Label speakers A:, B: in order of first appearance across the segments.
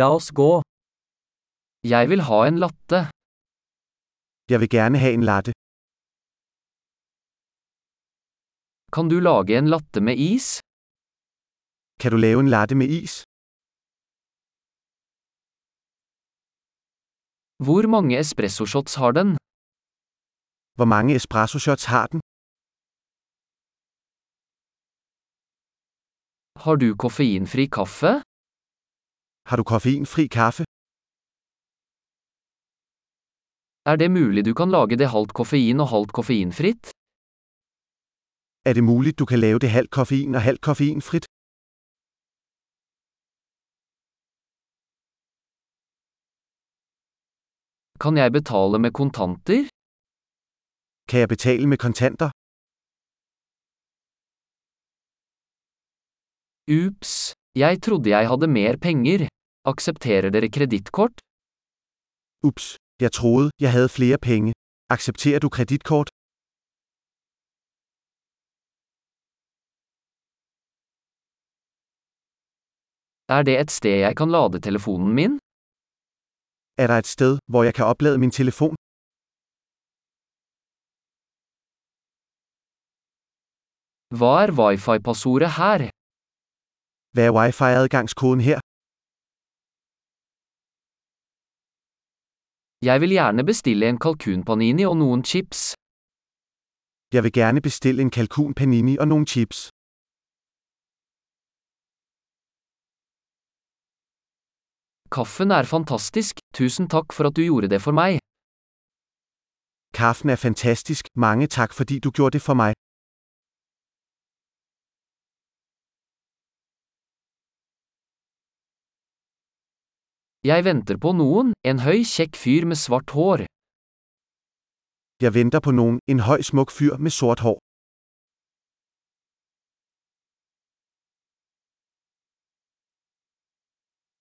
A: La oss gå. Jeg vil ha en latte.
B: Jeg vil gerne have en latte.
A: Kan du lage en latte med is?
B: Kan du lave en latte med is?
A: Hvor mange espressoshots har den?
B: Hvor mange espresso shots har den?
A: Har du koffeinfri kaffe?
B: Har du koffeinfri kaffe?
A: Er det mulig du kan lage det halvt koffein og halvt koffeinfritt?
B: Er det muligt, du kan lave det halvt koffein og halvt koffeinfrit?
A: Kan jeg betale med kontanter?
B: Kan jeg betale med kontanter?
A: Ups, jeg trodde jeg hadde mer penger. Aksepterer dere kredittkort?
B: Ups, jeg troede, jeg havde flere penge. Accepterer du kreditkort?
A: Er det et sted jeg kan lade telefonen min?
B: Er der et sted, hvor jeg kan oplade min telefon?
A: Hva er wifi-passordet her?
B: Hvad er wifi-adgangskoden her?
A: Jeg vil gjerne bestille en kalkunpanini og noen chips.
B: Jeg vil gerne bestille en kalkun panini og nogle chips.
A: Kaffen er fantastisk, tusen takk for at du gjorde det for meg.
B: Kaffen er fantastisk, mange tak fordi du gjorde det for mig.
A: Jeg venter på noen, en høy, kjekk fyr med svart hår.
B: Jeg venter på nogen, en høj smuk fyr med sort hår.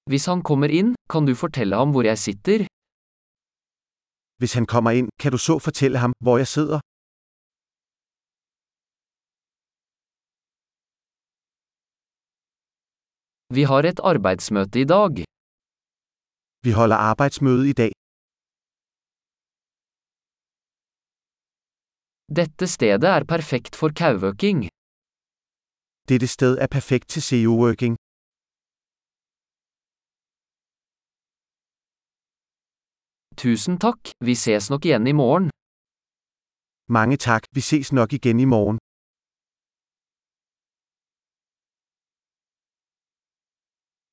A: Hvis han kommer inn, kan du fortelle ham hvor jeg sitter?
B: Hvis han kommer ind, kan du så fortælle ham, hvor jeg sidder?
A: Vi har et arbeidsmøte i dag.
B: Vi holder arbejdsmøde i dag.
A: Dette stedet er perfekt for kauøking.
B: Dette sted er perfekt til E CEO-working.
A: Tusen takk, vi ses nok igjen i morgen.
B: Mange tak, vi ses nok igen i morgen.